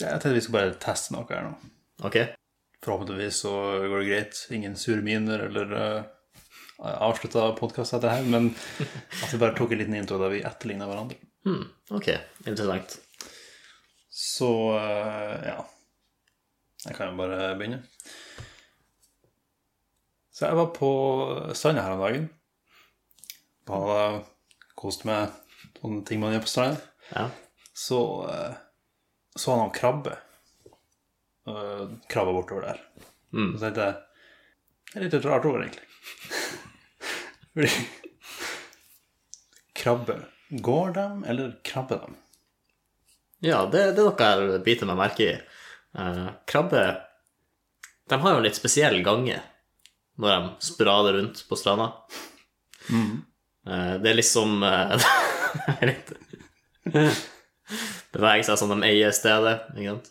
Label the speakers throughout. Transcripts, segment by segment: Speaker 1: Jeg tenkte vi skulle bare teste noe her nå.
Speaker 2: Ok.
Speaker 1: Forhåpentligvis så går det greit. Ingen sure miner eller uh, avslutta podkast etter det her, men at vi bare tok en liten intro der vi etterligna hverandre.
Speaker 2: Hmm. Ok, interessant.
Speaker 1: Så eh, ja. Jeg kan jo bare begynne. Så jeg var på stranda her om dagen. Bada, koste meg, sånne ting man gjør på stranda.
Speaker 2: Ja.
Speaker 1: Så eh, så han noen krabbe. Eh, Krabbe bortover der. Så tenkte jeg Det er litt et rart ord, egentlig. Fordi Krabbe. Går dem, eller krabber dem?
Speaker 2: Ja, det, det er noe jeg biter meg merke i. Eh, krabbe De har jo en litt spesiell gange når de sprader rundt på stranda. Eh, det er liksom eh, det er litt Beveger seg som de eier stedet, ikke sant.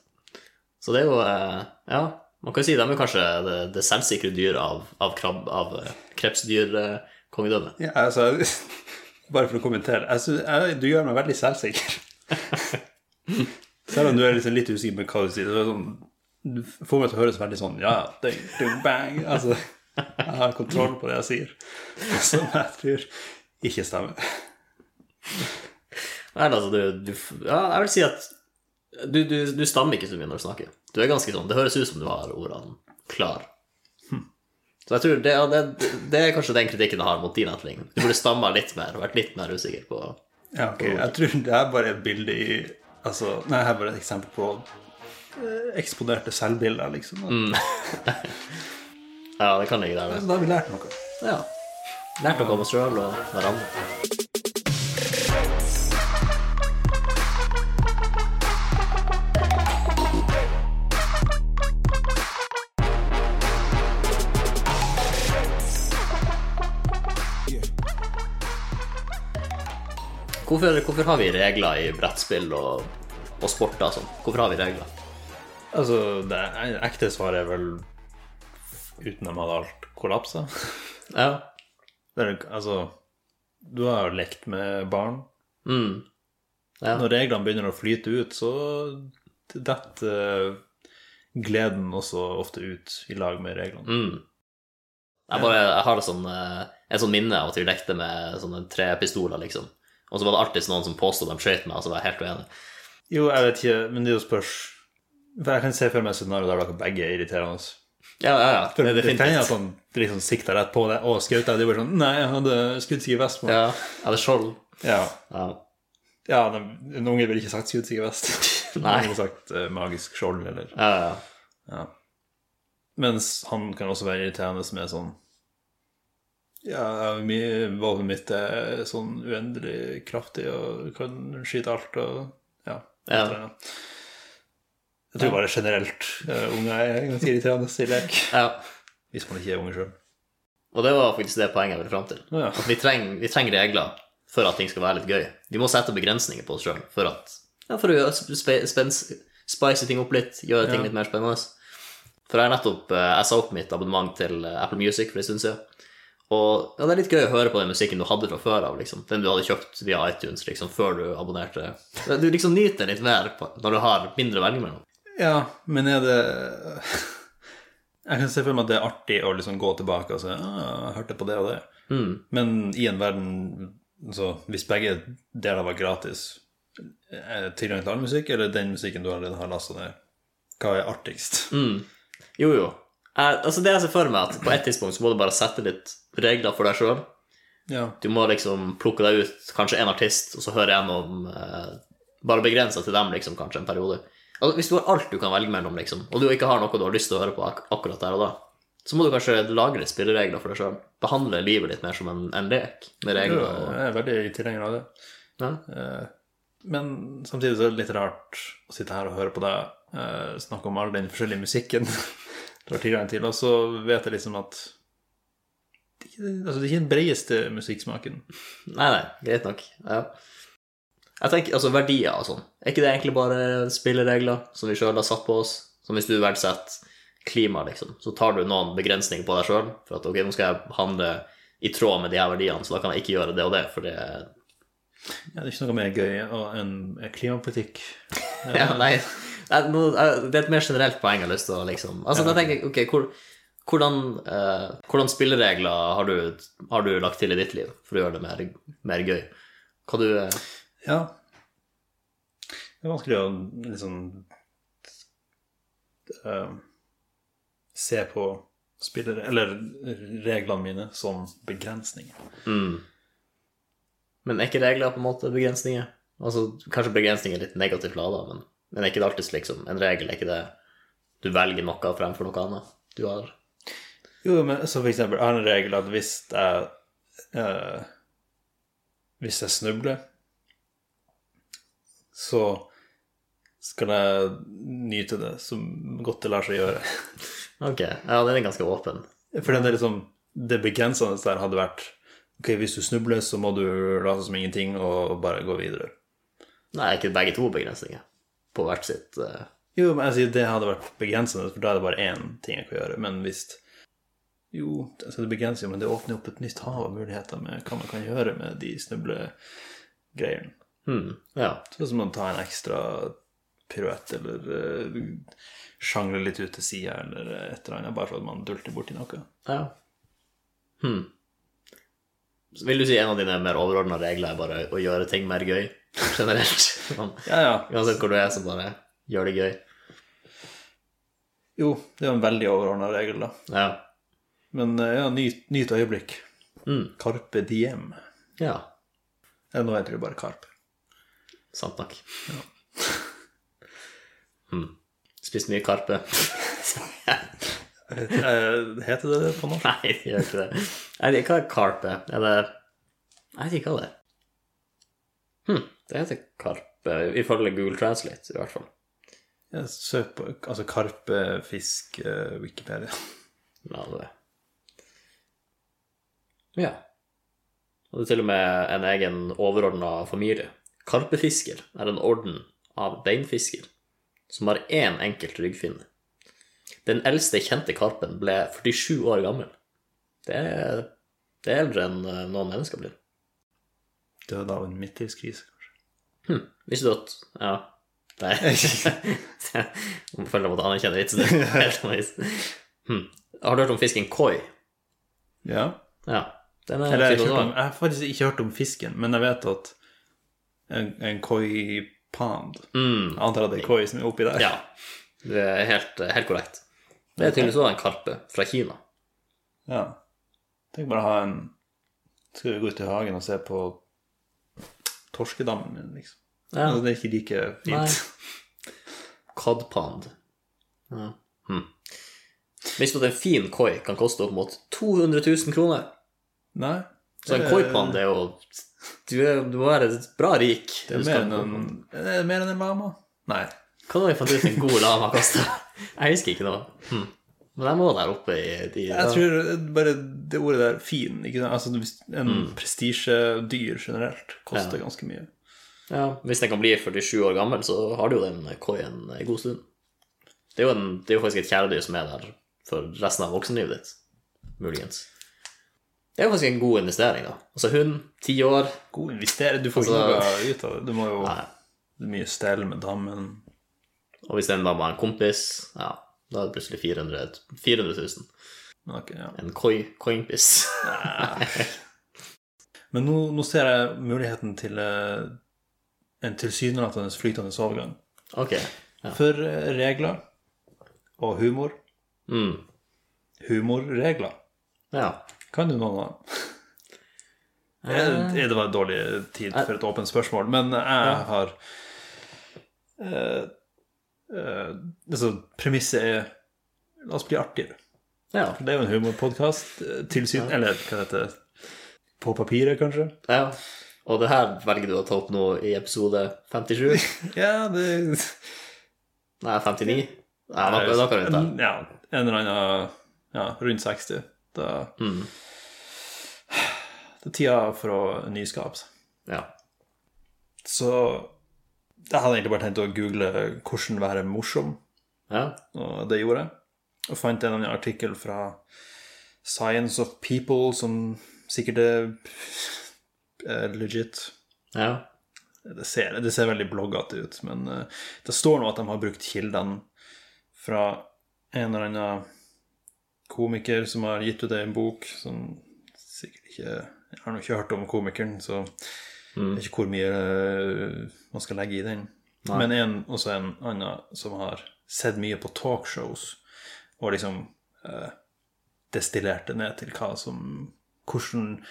Speaker 2: Så det er jo eh, Ja, man kan jo si de er kanskje det, det selvsikre dyr av, av, krabb, av eh, krepsdyrkongedømmet.
Speaker 1: Ja, altså Bare for å kommentere. Jeg synes, jeg, du gjør meg veldig selvsikker. Selv om du er liksom litt usikker på hva du sier. så er det sånn, du får meg til å høres veldig sånn Ja, ding, ding, bang. Altså, jeg har kontroll på det jeg sier. Som jeg tror ikke stemmer.
Speaker 2: Nei, altså, du, du Ja, jeg vil si at du, du, du stammer ikke så mye når du snakker. Du er ganske sånn Det høres ut som du har ordene klar. Så jeg tror det, ja, det, det er kanskje den kritikken jeg har mot din etterligning. Du burde stamma litt mer, vært litt mer usikker på
Speaker 1: Ja, ok. Jeg tror det er bare et bilde i Altså, nei, her er bare et eksempel på eh, eksponerte selvbilder, liksom.
Speaker 2: Ja, det kan ligge
Speaker 1: Så
Speaker 2: der. det.
Speaker 1: Altså, da har vi lært noe.
Speaker 2: Ja. Lært noe om oss sjøl og hverandre. Hvorfor, hvorfor har vi regler i brettspill og, og sporter og sånn? Hvorfor har vi regler?
Speaker 1: Altså, det ekte svaret er vel uten dem hadde alt kollapsa.
Speaker 2: Ja.
Speaker 1: Det er, jo- altså, du har jo lekt med barn.
Speaker 2: Mm. Ja.
Speaker 1: Når reglene begynner å flyte ut, så detter eh, gleden også ofte ut i lag med reglene.
Speaker 2: Mm. Jeg, bare, jeg har det sånn, eh, en sånn minne av at vi lekte med sånne tre pistoler, liksom. Og så var det alltid noen som påstod de skjøt meg, og så var jeg helt uenig.
Speaker 1: Jo, jeg vet ikke, men det er jo spørs For Jeg kan se for meg et scenario der dere begge er irriterende.
Speaker 2: Ja, ja, ja.
Speaker 1: For
Speaker 2: Det er
Speaker 1: det kan
Speaker 2: definitivt.
Speaker 1: hende at han liksom sikter rett på det og skjøt deg. Det er bare sånn Nei, jeg hadde skuddsikker vest på.
Speaker 2: Ja, jeg hadde skjold.
Speaker 1: Ja.
Speaker 2: Ja.
Speaker 1: ja de, en unge ville ikke sagt skuddsikker vest.
Speaker 2: Nei.
Speaker 1: Han ville sagt eh, magisk skjold eller
Speaker 2: Ja, ja, ja.
Speaker 1: Mens han kan også være irriterende med sånn Ja, mi- våpenet mitt er sånn uendelig kraftig og kan skyte alt og Ja.
Speaker 2: Ja.
Speaker 1: etter det. Jeg tror bare generelt eh, unger er ganske irriterende i lek.
Speaker 2: ja.
Speaker 1: Hvis man ikke er unge sjøl.
Speaker 2: Og det var faktisk det poenget jeg ville fram til.
Speaker 1: Ja.
Speaker 2: At vi trenger, vi trenger regler for at ting skal være litt gøy. Vi må sette begrensninger på oss sjøl for, at- ja, for å gjøre, spe, spens- spice ting opp litt, gjøre ting
Speaker 1: Ja.
Speaker 2: litt mer spennende. For jeg har nettopp eh, jeg sa opp mitt abonnement til eh, Apple Music for en stund siden. Og ja, det er litt gøy å høre på den musikken du hadde fra før av, liksom. Den du hadde kjøpt via iTunes liksom, før du abonnerte. Du liksom nyter litt mer på, når du har mindre å velge mellom.
Speaker 1: ja, men er det Jeg kan se for meg at det er artig å liksom gå tilbake og si ah, jeg hørte på det og det.
Speaker 2: Mm.
Speaker 1: Men i en verden altså, Hvis begge deler var gratis, er det tilgang til all musikk, eller den musikken du allerede har lasta ned, hva er artigst?
Speaker 2: Jo, jo. Jeg, altså, det jeg ser for meg, at på et tidspunkt så må du bare sette litt regler for deg sjøl.
Speaker 1: Ja.
Speaker 2: du må liksom plukke deg ut kanskje en artist, og så høre gjennom eh, Bare begrense til dem, liksom, kanskje, en periode. Altså, hvis du har alt du kan velge mellom, liksom, og du ikke har noe du har lyst til å høre på ak akkurat der og da, så må du kanskje lagre spilleregler for deg sjøl. Behandle livet ditt mer som en, en lek med
Speaker 1: Jeg
Speaker 2: regler og
Speaker 1: er veldig tilhenger av det.
Speaker 2: ja.
Speaker 1: Men samtidig så er det litt rart å sitte her og høre på deg eh, snakke om all den forskjellige musikken du har tilgang til, og så vet jeg liksom at det er ikke- altså, det er ikke den bredeste musikksmaken.
Speaker 2: Nei, nei, greit nok. Ja. Jeg tenker, altså Verdier og sånn, er ikke det egentlig bare spilleregler som vi sjøl har satt på oss? Som hvis du verdsetter klima, liksom, så tar du noen begrensninger på deg sjøl. For at ok, nå skal jeg handle i tråd med de her verdiene, så da kan jeg ikke gjøre det og det. For det
Speaker 1: Ja, det er ikke noe mer gøy å- enn klimapolitikk.
Speaker 2: ja, Nei, Jeg- nå- jeg- Det er et mer generelt poeng jeg har lyst til å liksom Altså, da tenker jeg, ok, hvor, hvordan, eh, hvordan spilleregler har du, har du lagt til i ditt liv for å gjøre det mer, mer gøy? Hva du eh,
Speaker 1: Ja. Det er vanskelig å liksom eh, se på spillere, eller reglene mine, som begrensninger.
Speaker 2: mm. Men er ikke regler på en måte begrensninger? Altså, kanskje begrensninger er litt negativt lada, men, men er ikke det alltid liksom En regel er ikke det du velger noe fremfor noe annet du har
Speaker 1: Jo, men så for eksempel, jeg har en regel at hvis jeg eh, Hvis jeg snubler, så skal jeg nyte det så godt det lar seg gjøre.
Speaker 2: Ok, ja, den er ganske åpen.
Speaker 1: For det er liksom Det begrensende der hadde vært Ok, hvis du snubler, så må du late som ingenting og bare gå videre.
Speaker 2: Nei, ikke begge to begrensninger på hvert sitt eh,
Speaker 1: Jo, men jeg sier det hadde vært begrensende, for da er det bare én ting jeg kan gjøre. Men hvis Jo, altså det begrenser jo, men det åpner opp et nytt hav av muligheter med hva man kan gjøre med de snublegreiene.
Speaker 2: hmm, Ja.
Speaker 1: Sånn som å ta en ekstra piruett eller eh, sjangle litt ut til sida eller et eller annet, bare for at man dulter borti noe.
Speaker 2: Ja. Hmm. Så vil du si en av dine mer overordna regler er bare å gjøre ting mer gøy generelt? Sånn,
Speaker 1: Ja, ja.
Speaker 2: Uansett hvor du er, så bare gjør det gøy.
Speaker 1: Jo, det er jo en veldig overordna regel, da.
Speaker 2: Ja.
Speaker 1: Men eh, ja, nyt, nyt øyeblikk.
Speaker 2: Mm.
Speaker 1: Carpe diem.
Speaker 2: ja.
Speaker 1: Ja, nå heter det bare Karp.
Speaker 2: Sant nok. Hmm. Spist mye karpe?
Speaker 1: Eh, Heter det det på norsk?
Speaker 2: Nei, det gjør ikke det. Nei, det- hva er karpe? Er det Jeg vet ikke hva det er. Hmm. Det heter karpe, ifølge Google Translate, i hvert fall.
Speaker 1: Ja, Søk på altså Karpe, fisk, eh, Wikipedia.
Speaker 2: Ja, det er det. Ja. Og det er til og med en egen overordna familie. Karpefisker er en orden av beinfisker som har én enkelt ryggfinne. Den eldste kjente karpen ble 47 år gammel. Det er, det er eldre enn eh, noen mennesker blir.
Speaker 1: Døde av en midtlivskrise, kanskje.
Speaker 2: Hm. Visste du at Ja. Nei. Jeg føler jeg måtte anerkjenne vitsen. Det er Helt annerledes. Hm. Har du hørt om fisken koi?
Speaker 1: Ja.
Speaker 2: Ja. Den er
Speaker 1: Eller, jeg, har ikke hørt
Speaker 2: filosof.
Speaker 1: om, jeg har faktisk ikke hørt om fisken, men jeg vet at en, en koi pond
Speaker 2: Mm,
Speaker 1: Jeg antar at det er koi som er oppi der.
Speaker 2: ja, det er helt, helt korrekt. Det er tydeligvis også en karpe fra Kina.
Speaker 1: Ja. Tenk bare å ha en Skal vi gå ut i hagen og se på torskedammen min, liksom.
Speaker 2: Ja.
Speaker 1: Altså, det er ikke like fint.
Speaker 2: Codpond. Ja. Hm. Visste du at en fin koi kan koste opp mot 200 000 kroner?
Speaker 1: Nei. Eh,
Speaker 2: Så en
Speaker 1: Det-
Speaker 2: koipond er jo du, er, du må være bra rik.
Speaker 1: Det er
Speaker 2: Du
Speaker 1: mer
Speaker 2: skal-
Speaker 1: enn en, det er mer enn en lama. Nei.
Speaker 2: Hva da vi fant ut en god lama koster? Jeg husker ikke noe. Hm. Men jeg må der oppe i de
Speaker 1: Jeg tror bare det ordet der, fin ikke sant? Altså, hvis En
Speaker 2: Mm.
Speaker 1: prestisjedyr generelt koster ganske mye.
Speaker 2: Ja, hvis den kan bli 47 år gammel, så har du jo den koien en god stund. Det er jo, en, det er jo faktisk et kjæledyr som er der for resten av voksenlivet ditt, muligens. Det er jo faktisk en god investering, da. Altså hund, ti år
Speaker 1: God investering. Du får
Speaker 2: Altså-
Speaker 1: ikke noe ut av det. Du må jo
Speaker 2: Nei.
Speaker 1: det er mye stell med dammen.
Speaker 2: Og hvis den da var en kompis, ja, da er det plutselig 400, 400 000.
Speaker 1: Men, ok, ja.
Speaker 2: En koi, koimpis.
Speaker 1: Men nå, nå ser jeg muligheten til eh, en tilsynelatende flytende overgang.
Speaker 2: ok. Ja.
Speaker 1: For eh, regler og humor
Speaker 2: Mm.
Speaker 1: Humorregler.
Speaker 2: ja.
Speaker 1: Kan du noen av dem? Eh, Det var en dårlig tid for et åpent spørsmål, men jeg har eh, eh, Altså, premisset er La oss bli artigere.
Speaker 2: Ja.
Speaker 1: For det er jo en humorpodkast. Tilsyn Eller hva heter det? På papiret, kanskje?
Speaker 2: ja. Og det her velger du å ta opp nå i episode 57?
Speaker 1: Ja, det
Speaker 2: Nei, 59? Nei, noe, noe rundt der.
Speaker 1: Ja, en eller annen Ja, rundt 60. Da
Speaker 2: Mm.
Speaker 1: Det er tida for å nyskape seg.
Speaker 2: Ja.
Speaker 1: Så jeg hadde egentlig bare tenkt å google 'hvordan være morsom'.
Speaker 2: Ja.
Speaker 1: Og det gjorde jeg. Og fant en eller annen artikkel fra Science of People, som sikkert er eh, legit.
Speaker 2: ja.
Speaker 1: Det ser, det ser veldig bloggete ut, men eh, det står nå at de har brukt kildene fra en eller annen komiker som har gitt ut en bok som sikkert ikke Jeg har nå ikke hørt om komikeren, så jeg vet ikke hvor mye eh, man skal legge i den.
Speaker 2: Nei.
Speaker 1: Men en, også en annen som har sett mye på talkshows, og liksom eh, destillert det ned til hva som Hvordan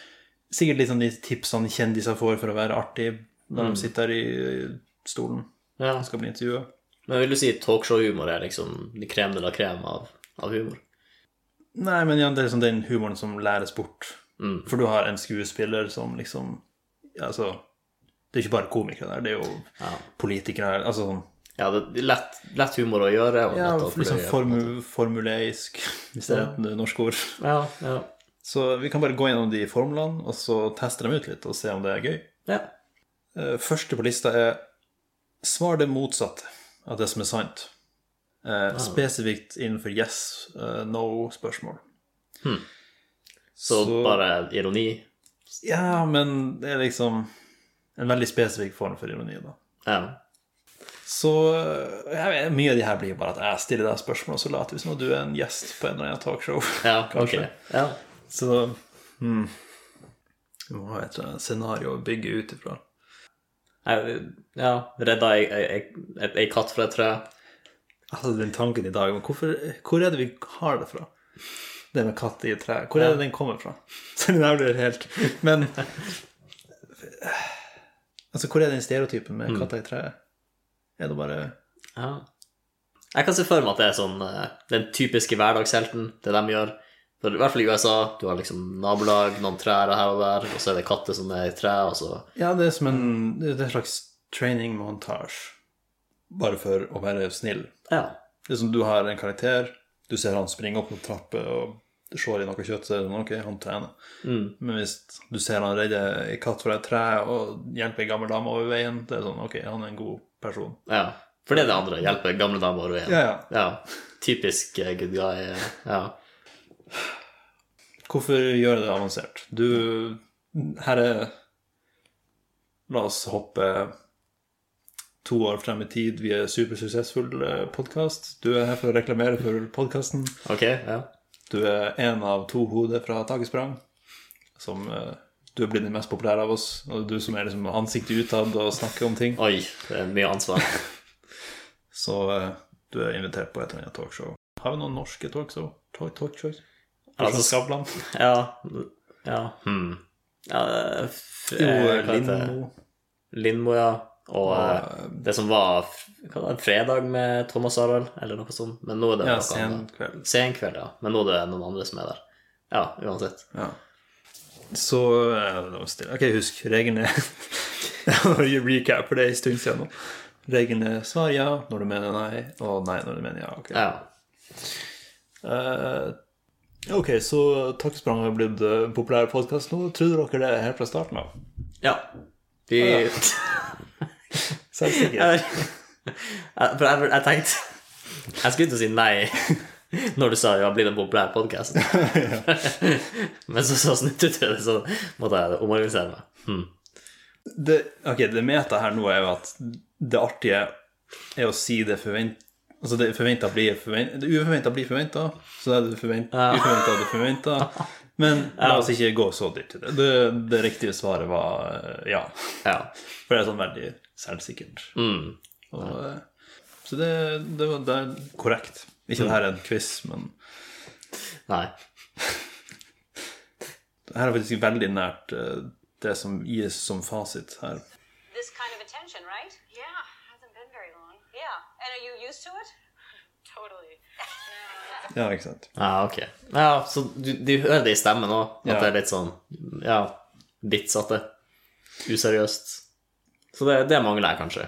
Speaker 1: Sikkert litt sånn de tipsene kjendiser får for å være artig når de sitter i eh, stolen
Speaker 2: Ja.
Speaker 1: og skal bli intervjua.
Speaker 2: Men vil du si talkshow-humor er liksom krem de la krem av, av humor?
Speaker 1: Nei, men igjen, det er liksom den humoren som læres bort.
Speaker 2: Mm.
Speaker 1: For du har en skuespiller som liksom ja, Altså, det er ikke bare komikere der, det er jo
Speaker 2: Ja.
Speaker 1: politikere altså sånn
Speaker 2: Ja, det er lett, lett humor å gjøre. Og
Speaker 1: Ja,
Speaker 2: lett å
Speaker 1: liksom
Speaker 2: fordøye, på en måte.
Speaker 1: formu, formuleisk, hvis det er et norsk ord.
Speaker 2: Ja, ja.
Speaker 1: Så vi kan bare gå gjennom de formlene, og så teste dem ut litt, og se om det er gøy.
Speaker 2: ja.
Speaker 1: Eh, Første på lista er svar det motsatte av det som er sant.
Speaker 2: Ah.
Speaker 1: Eh, Spesifikt innenfor yes, eh, no-spørsmål.
Speaker 2: Hmm. Så,
Speaker 1: Så-
Speaker 2: bare ironi.
Speaker 1: Ja, men det er liksom en veldig spesifikk form for ironi, da.
Speaker 2: Ja.
Speaker 1: Så eh, jeg vet, mye av de her blir bare at jeg stiller deg spørsmål, og så later vi som om du er en gjest på en eller annen talkshow.
Speaker 2: ja ok.
Speaker 1: Kanskje.
Speaker 2: Ja.
Speaker 1: Så hmm. Vi må ha et eh, scenario å bygge ut ifra.
Speaker 2: Jeg, ja. Redda ei, ei, ei, ei katt fra et tre.
Speaker 1: Jeg hadde den tanken i dag, men hvorfor, hvor er det vi har det fra? Det med katt i tre. Hvor er det den kommer fra? Så det der blir helt Men Altså, hvor er den stereotypen med katter i treet? Er det bare
Speaker 2: Ja. Jeg kan se for meg at det er sånn eh, den typiske hverdagshelten, det de gjør. For, I hvert fall i USA. Du har liksom nabolag, noen trær her og der, og så er det katter som er i tre, og så
Speaker 1: Ja, det er som en, det er en slags training montage. Bare for å være snill.
Speaker 2: Ja.
Speaker 1: Det er som du har en karakter, du ser han springe opp noen trapper og du ser i noe kjøtt, så er det sånn, ok, han trener.
Speaker 2: Mm.
Speaker 1: Men hvis du ser han redde en katt fra et tre og hjelpe ei gammel dame over veien, det er sånn ok, han er en god person.
Speaker 2: ja. For det er det andre. Hjelpe gamle damer over veien.
Speaker 1: Ja, ja.
Speaker 2: Ja. Typisk eh, good guy. eh, Ja.
Speaker 1: Hvorfor gjøre det avansert? Du Her er La oss hoppe to år frem i tid. Vi er supersuksessfull podkast. Du er her for å reklamere for podkasten.
Speaker 2: Ok, ja.
Speaker 1: Du er en av to hoder fra Taket sprang. Som eh, du er blitt den mest populære av oss. Og du som er liksom ansiktet utad og snakker om ting.
Speaker 2: Oi, det er mye ansvar.
Speaker 1: Så eh, du er invitert på et eller annet talkshow. Har vi noen norske talkshow? Talk, talkshows? Altså
Speaker 2: Altså,
Speaker 1: Skavlan?
Speaker 2: Ja. Ja. Hmm. ja eh, f-
Speaker 1: Jo,
Speaker 2: eh, hva heter det?
Speaker 1: Lindmo.
Speaker 2: Lindmo, ja. Og eh,
Speaker 1: eh,
Speaker 2: det som var f- hva var det, fredag med Thomas Harald, eller noe sånt. Men nå er det
Speaker 1: Ja,
Speaker 2: noe
Speaker 1: sen
Speaker 2: annet.
Speaker 1: kveld.
Speaker 2: Sen kveld, ja. Men nå er det noen andre som er der. Ja, uansett.
Speaker 1: Ja. Så eh, det var stille. Ok, husk. Reglene Jeg recap, for det er en stund siden nå. Reglene er svar ja når du mener nei, og nei når du mener ja. ok.
Speaker 2: Ja.
Speaker 1: Eh, ok, så Takksprang har blitt eh, en populær podkast nå. Trodde dere det helt fra starten av?
Speaker 2: ja. Vi
Speaker 1: Ja,
Speaker 2: Jeg-
Speaker 1: Selvsikker.
Speaker 2: jeg- For jeg, jeg tenkte Jeg skulle til å si nei når du sa ja, blir det en populær podkast. Men så, så snudde du det, så måtte jeg omorganisere meg. Hmm.
Speaker 1: Det, ok, det meta her nå er jo at det artige er å si det forvent... Altså det forventa blir forvent... Det uforventa blir forventa, så er det forvent... uforventa det forventa. Men la oss ikke gå så dypt i det. det. Det riktige svaret var eh, ja.
Speaker 2: Ja.
Speaker 1: For det er sånn veldig selvsikkert.
Speaker 2: Mm.
Speaker 1: Og, eh, så det, det, var, det er korrekt. Ikke det her er en quiz, men
Speaker 2: Nei.
Speaker 1: Her er faktisk veldig nært eh, det som gis som fasit her.
Speaker 3: this kind of attention, right?
Speaker 4: Yeah, hasn't been very long.
Speaker 3: Yeah. And are you used to it?
Speaker 4: Totally.
Speaker 1: Ja, ikke sant?
Speaker 2: Ja, ok. Ja, så du, du hører det i stemmen òg, at
Speaker 1: Ja.
Speaker 2: det er litt sånn ja, vitsete. Useriøst. Så det, det mangler jeg kanskje.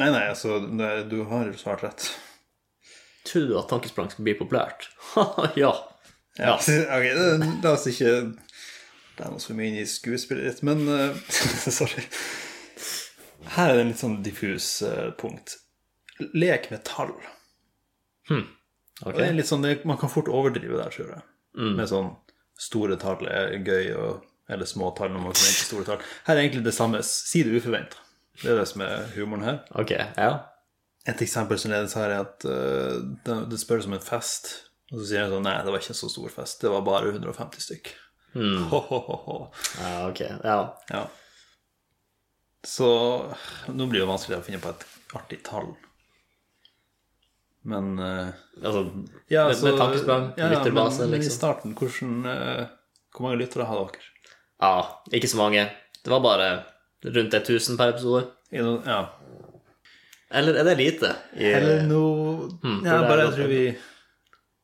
Speaker 1: Nei, nei, altså, det, du har svart rett.
Speaker 2: Tror du at tankesprang skal bli populært? ja.
Speaker 1: Ja. ok, det, la oss ikke blande oss for mye inn i skuespillet ditt, men eh, Sorry. Her er det en litt sånn diffus eh, punkt. Lek med tall.
Speaker 2: Ok.
Speaker 1: Det er litt sånn, det, Man kan fort overdrive der, tror jeg. Med sånn store tall er gøy, og, eller små tall når man forventer store tall. Her er egentlig det samme. Si det uforventa. Det er det som er humoren her.
Speaker 2: Ok, ja.
Speaker 1: Et eksempel som ledes her, er at eh, det, det spørres om en fest. Og så sier jeg sånn Nei, det var ikke en så stor fest. Det var bare 150 stykk.
Speaker 2: Mm.
Speaker 1: Ho, ho, ho, ho.
Speaker 2: Ja, ok. Ja.
Speaker 1: Ja. Så nå blir det vanskelig å finne på et artig tall. Men eh,
Speaker 2: Altså,
Speaker 1: ja,
Speaker 2: med, med tankesprang,
Speaker 1: ja, ja,
Speaker 2: lytterbase,
Speaker 1: men, men i
Speaker 2: liksom.
Speaker 1: starten, hvordan, eh, hvor mange lyttere har dere?
Speaker 2: Ja, ikke så mange. Det var bare rundt 1000 per episode.
Speaker 1: Er det noen- Ja.
Speaker 2: Eller er det lite? I-
Speaker 1: Eller noe
Speaker 2: Hmm,
Speaker 1: Ja,
Speaker 2: det er
Speaker 1: bare jeg
Speaker 2: godt.
Speaker 1: tror vi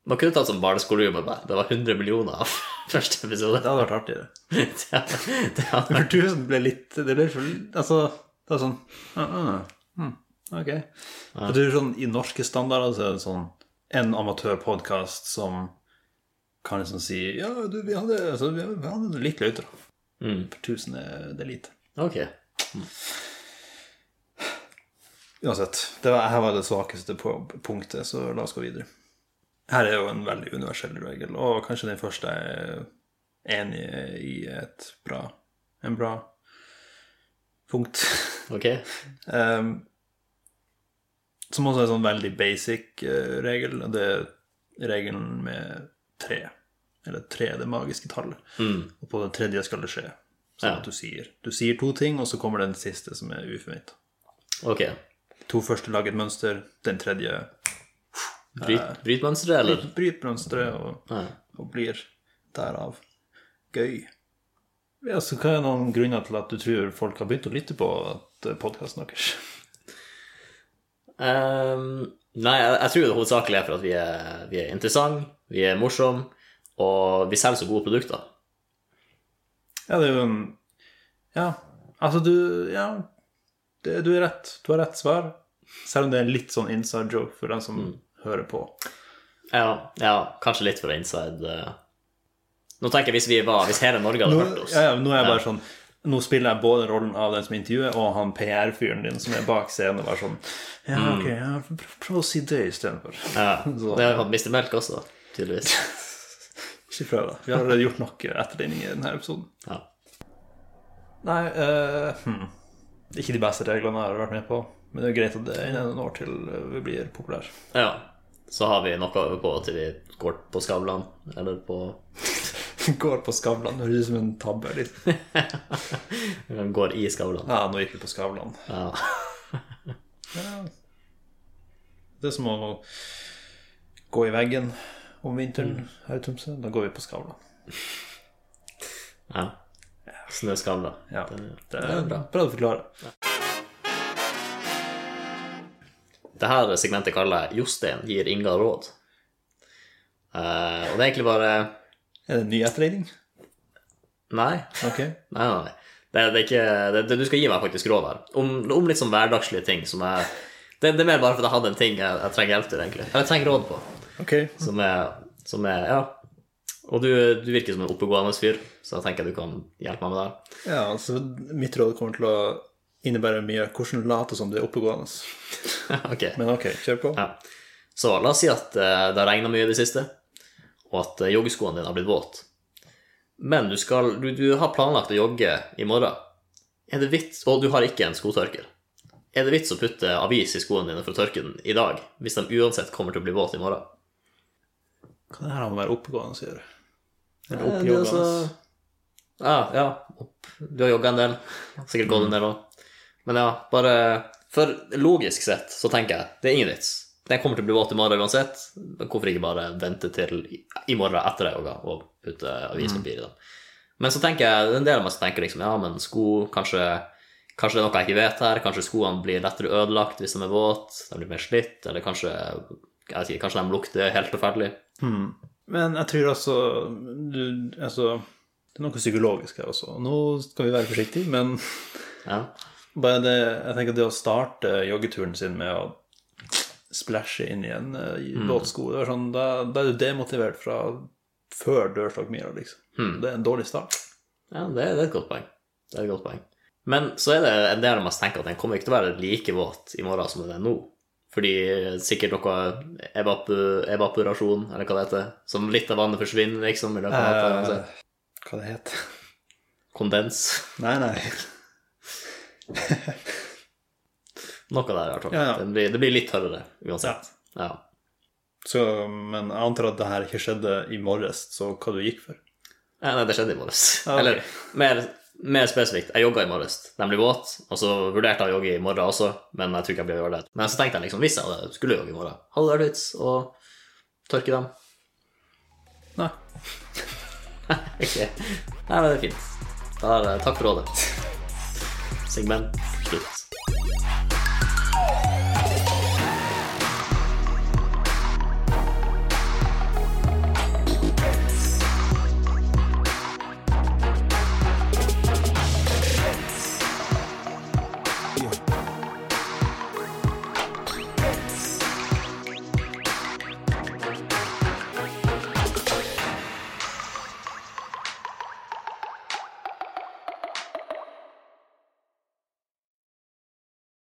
Speaker 2: Man kunne tatt som barneskolegruppe, bare. Det var 100 millioner av første episode.
Speaker 1: Det hadde vært artigere.
Speaker 2: Det, det hadde
Speaker 1: Men
Speaker 2: vært
Speaker 1: 1000 ble litt Det ble for Altså, det er sånn ah, ah, hmm, Ok. Jeg tror sånn i norske standarder så er det sånn en amatørpodkast som kan liksom si Ja, du, vi hadde, altså, vi hadde litt løyter.
Speaker 2: mm.
Speaker 1: For 1000 er det er lite.
Speaker 2: Ok.
Speaker 1: Uansett. Det var, her var det svakeste på punktet, så la oss gå videre. Her er jo en veldig universell regel, og kanskje den første er enig i et bra, en bra punkt.
Speaker 2: Ok.
Speaker 1: Em, Ehm, som også er en sånn veldig basic eh, regel, og det er regelen med tre. Eller tre, det magiske tallet.
Speaker 2: Mm.
Speaker 1: Og på det tredje skal det skje. Sånn
Speaker 2: Ja.
Speaker 1: at du sier. Du sier to ting, og så kommer den siste, som er uforventa.
Speaker 2: Ok.
Speaker 1: To første lager et mønster, den tredje
Speaker 2: Bryt, bryt mønsteret, eller?
Speaker 1: bryter mønsteret og,
Speaker 2: Nei.
Speaker 1: og blir derav gøy. Ja, så Hva er noen grunner til at du tror folk har begynt å lytte på podkasten deres?
Speaker 2: Ehm, nei, jeg, jeg tror det hovedsakelig er for at vi er, vi er interessante, vi er morsomme, og vi selger så gode produkter.
Speaker 1: Ja, det er jo en Ja, altså du Ja, det, du er rett. Du har rett svar. Selv om det er en litt sånn inside joke for den som hører på.
Speaker 2: Ja, ja, kanskje litt for inside. eh. Nå tenker jeg hvis vi var, hvis hele Norge hadde
Speaker 1: Nå,
Speaker 2: hørt oss.
Speaker 1: ja, ja, nå er jeg bare sånn nå spiller jeg både rollen av den som intervjuer, og han PR-fyren din som er bak scenen. og bare sånn, ja, ok, ja, prøv, prøv å si det istedenfor.
Speaker 2: Ja,
Speaker 1: Så-
Speaker 2: Det har jo hatt Mr. Melk også, tydeligvis.
Speaker 1: Ikke prøv, da. Vi har allerede gjort nok etterligning i denne episoden.
Speaker 2: Ja.
Speaker 1: Nei, eh, hmm. ikke de beste reglene jeg har vært med på. Men det er jo greit at det er innen noen år til vi blir populære.
Speaker 2: ja. Så har vi noe å øve på til vi går på Skavlan, eller på
Speaker 1: Går på Skavlan, høres ut som en tabbe. Liksom.
Speaker 2: eller Går i Skavlan.
Speaker 1: Ja, nå gikk vi på Skavlan.
Speaker 2: Ja.
Speaker 1: Ja. Det er som å gå i veggen om
Speaker 2: Mm.
Speaker 1: vinteren her i Tromsø. Da går vi på Skavlan.
Speaker 2: ja. Snøskavlan.
Speaker 1: Ja, det
Speaker 2: det
Speaker 1: er
Speaker 2: er
Speaker 1: bra.
Speaker 2: bra.
Speaker 1: å forklare.
Speaker 2: Det her segmentet kaller jeg 'Jostein gir Inga råd'. Eh, og det er egentlig bare
Speaker 1: Er det en ny etterligning?
Speaker 2: Nei.
Speaker 1: Ok.
Speaker 2: Nei, nei, nei. Det, det er ikke, det, det, du skal gi meg faktisk råd her. Om, om litt sånn hverdagslige ting som er det, det er mer bare fordi jeg hadde en ting jeg, jeg trenger hjelp til, egentlig. Eller jeg trenger råd på.
Speaker 1: Ok.
Speaker 2: Som er, som er Ja. Og du, du virker som en oppegående fyr, så jeg tenker du kan hjelpe meg med det.
Speaker 1: Ja, altså, mitt råd kommer til å innebære mye hvordan late som du er oppegående.
Speaker 2: her. ok.
Speaker 1: Men ok, kjør på.
Speaker 2: Ja. Så la oss si at eh, det har regna mye i det siste, og at eh, joggeskoene dine har blitt våte. Men du, skal, du, du har planlagt å jogge i morgen, er det vits, og du har ikke en skotørker. Er det vits å putte avis i skoene dine for å tørke den i dag, hvis de uansett kommer til å bli våte i morgen?
Speaker 1: Hva er det her med å være oppegående å gjøre? Eller
Speaker 2: Eh, det er
Speaker 1: oppjoggende?
Speaker 2: altså- Ja, ja. Opp. Du har jogga en del. Sikkert gått en del òg. Men ja, bare For logisk sett så tenker jeg det er ingen vits. Den kommer til å bli våt i morgen uansett. men Hvorfor ikke bare vente til i- i morgen etter jeg jogga og putte avispapir i dem? Men så tenker jeg, det er en del av meg som tenker liksom ja, men sko kanskje, kanskje det er noe jeg ikke vet her. Kanskje skoene blir lettere ødelagt hvis de er våte. De blir mer slitt. Eller kanskje, jeg vet ikke, kanskje de lukter helt forferdelig.
Speaker 1: Hmm. Men jeg tror altså, du, altså Det er noe psykologisk her også. Nå skal vi være forsiktige, men
Speaker 2: Ja.
Speaker 1: Bare det, jeg tenker det å starte joggeturen sin med å splæsje inn i en eh, i båtsko det er sånn, da, da er du demotivert fra før dørstokkmila, liksom. Det er en dårlig start.
Speaker 2: Ja, det, det er et godt poeng. Det er et godt poeng. Men så er det en del av meg som tenker at den kommer ikke til å være like våt i morgen som den er nå. Fordi sikkert noe evapu, evaporasjon, eller hva det heter, som litt av vannet forsvinner, liksom, i løpet av natta.
Speaker 1: Eh,
Speaker 2: altså.
Speaker 1: hva det heter
Speaker 2: Kondens.
Speaker 1: Nei, nei.
Speaker 2: Noe der, i hvert fall.
Speaker 1: Ja, ja.
Speaker 2: Det, blir, det blir litt tørrere uansett. Ja.
Speaker 1: Så, men jeg antar at det her ikke skjedde i morges, så hva du gikk for?
Speaker 2: Eh, Nei, det skjedde i morges.
Speaker 1: Ja, ok.
Speaker 2: Eller mer, mer spesifikt, jeg jogga i morges. Den blir våt, og så vurderte jeg å jogge i morgen også, men jeg tror ikke jeg blir å gjøre det. Men så tenkte jeg liksom, hvis jeg hadde- skulle jogge i morgen, hadde det vært vits å tørke dem?
Speaker 1: Nei.
Speaker 2: Ok. Nei, men det er fint. Da er det takk for rådet. Segment slutt.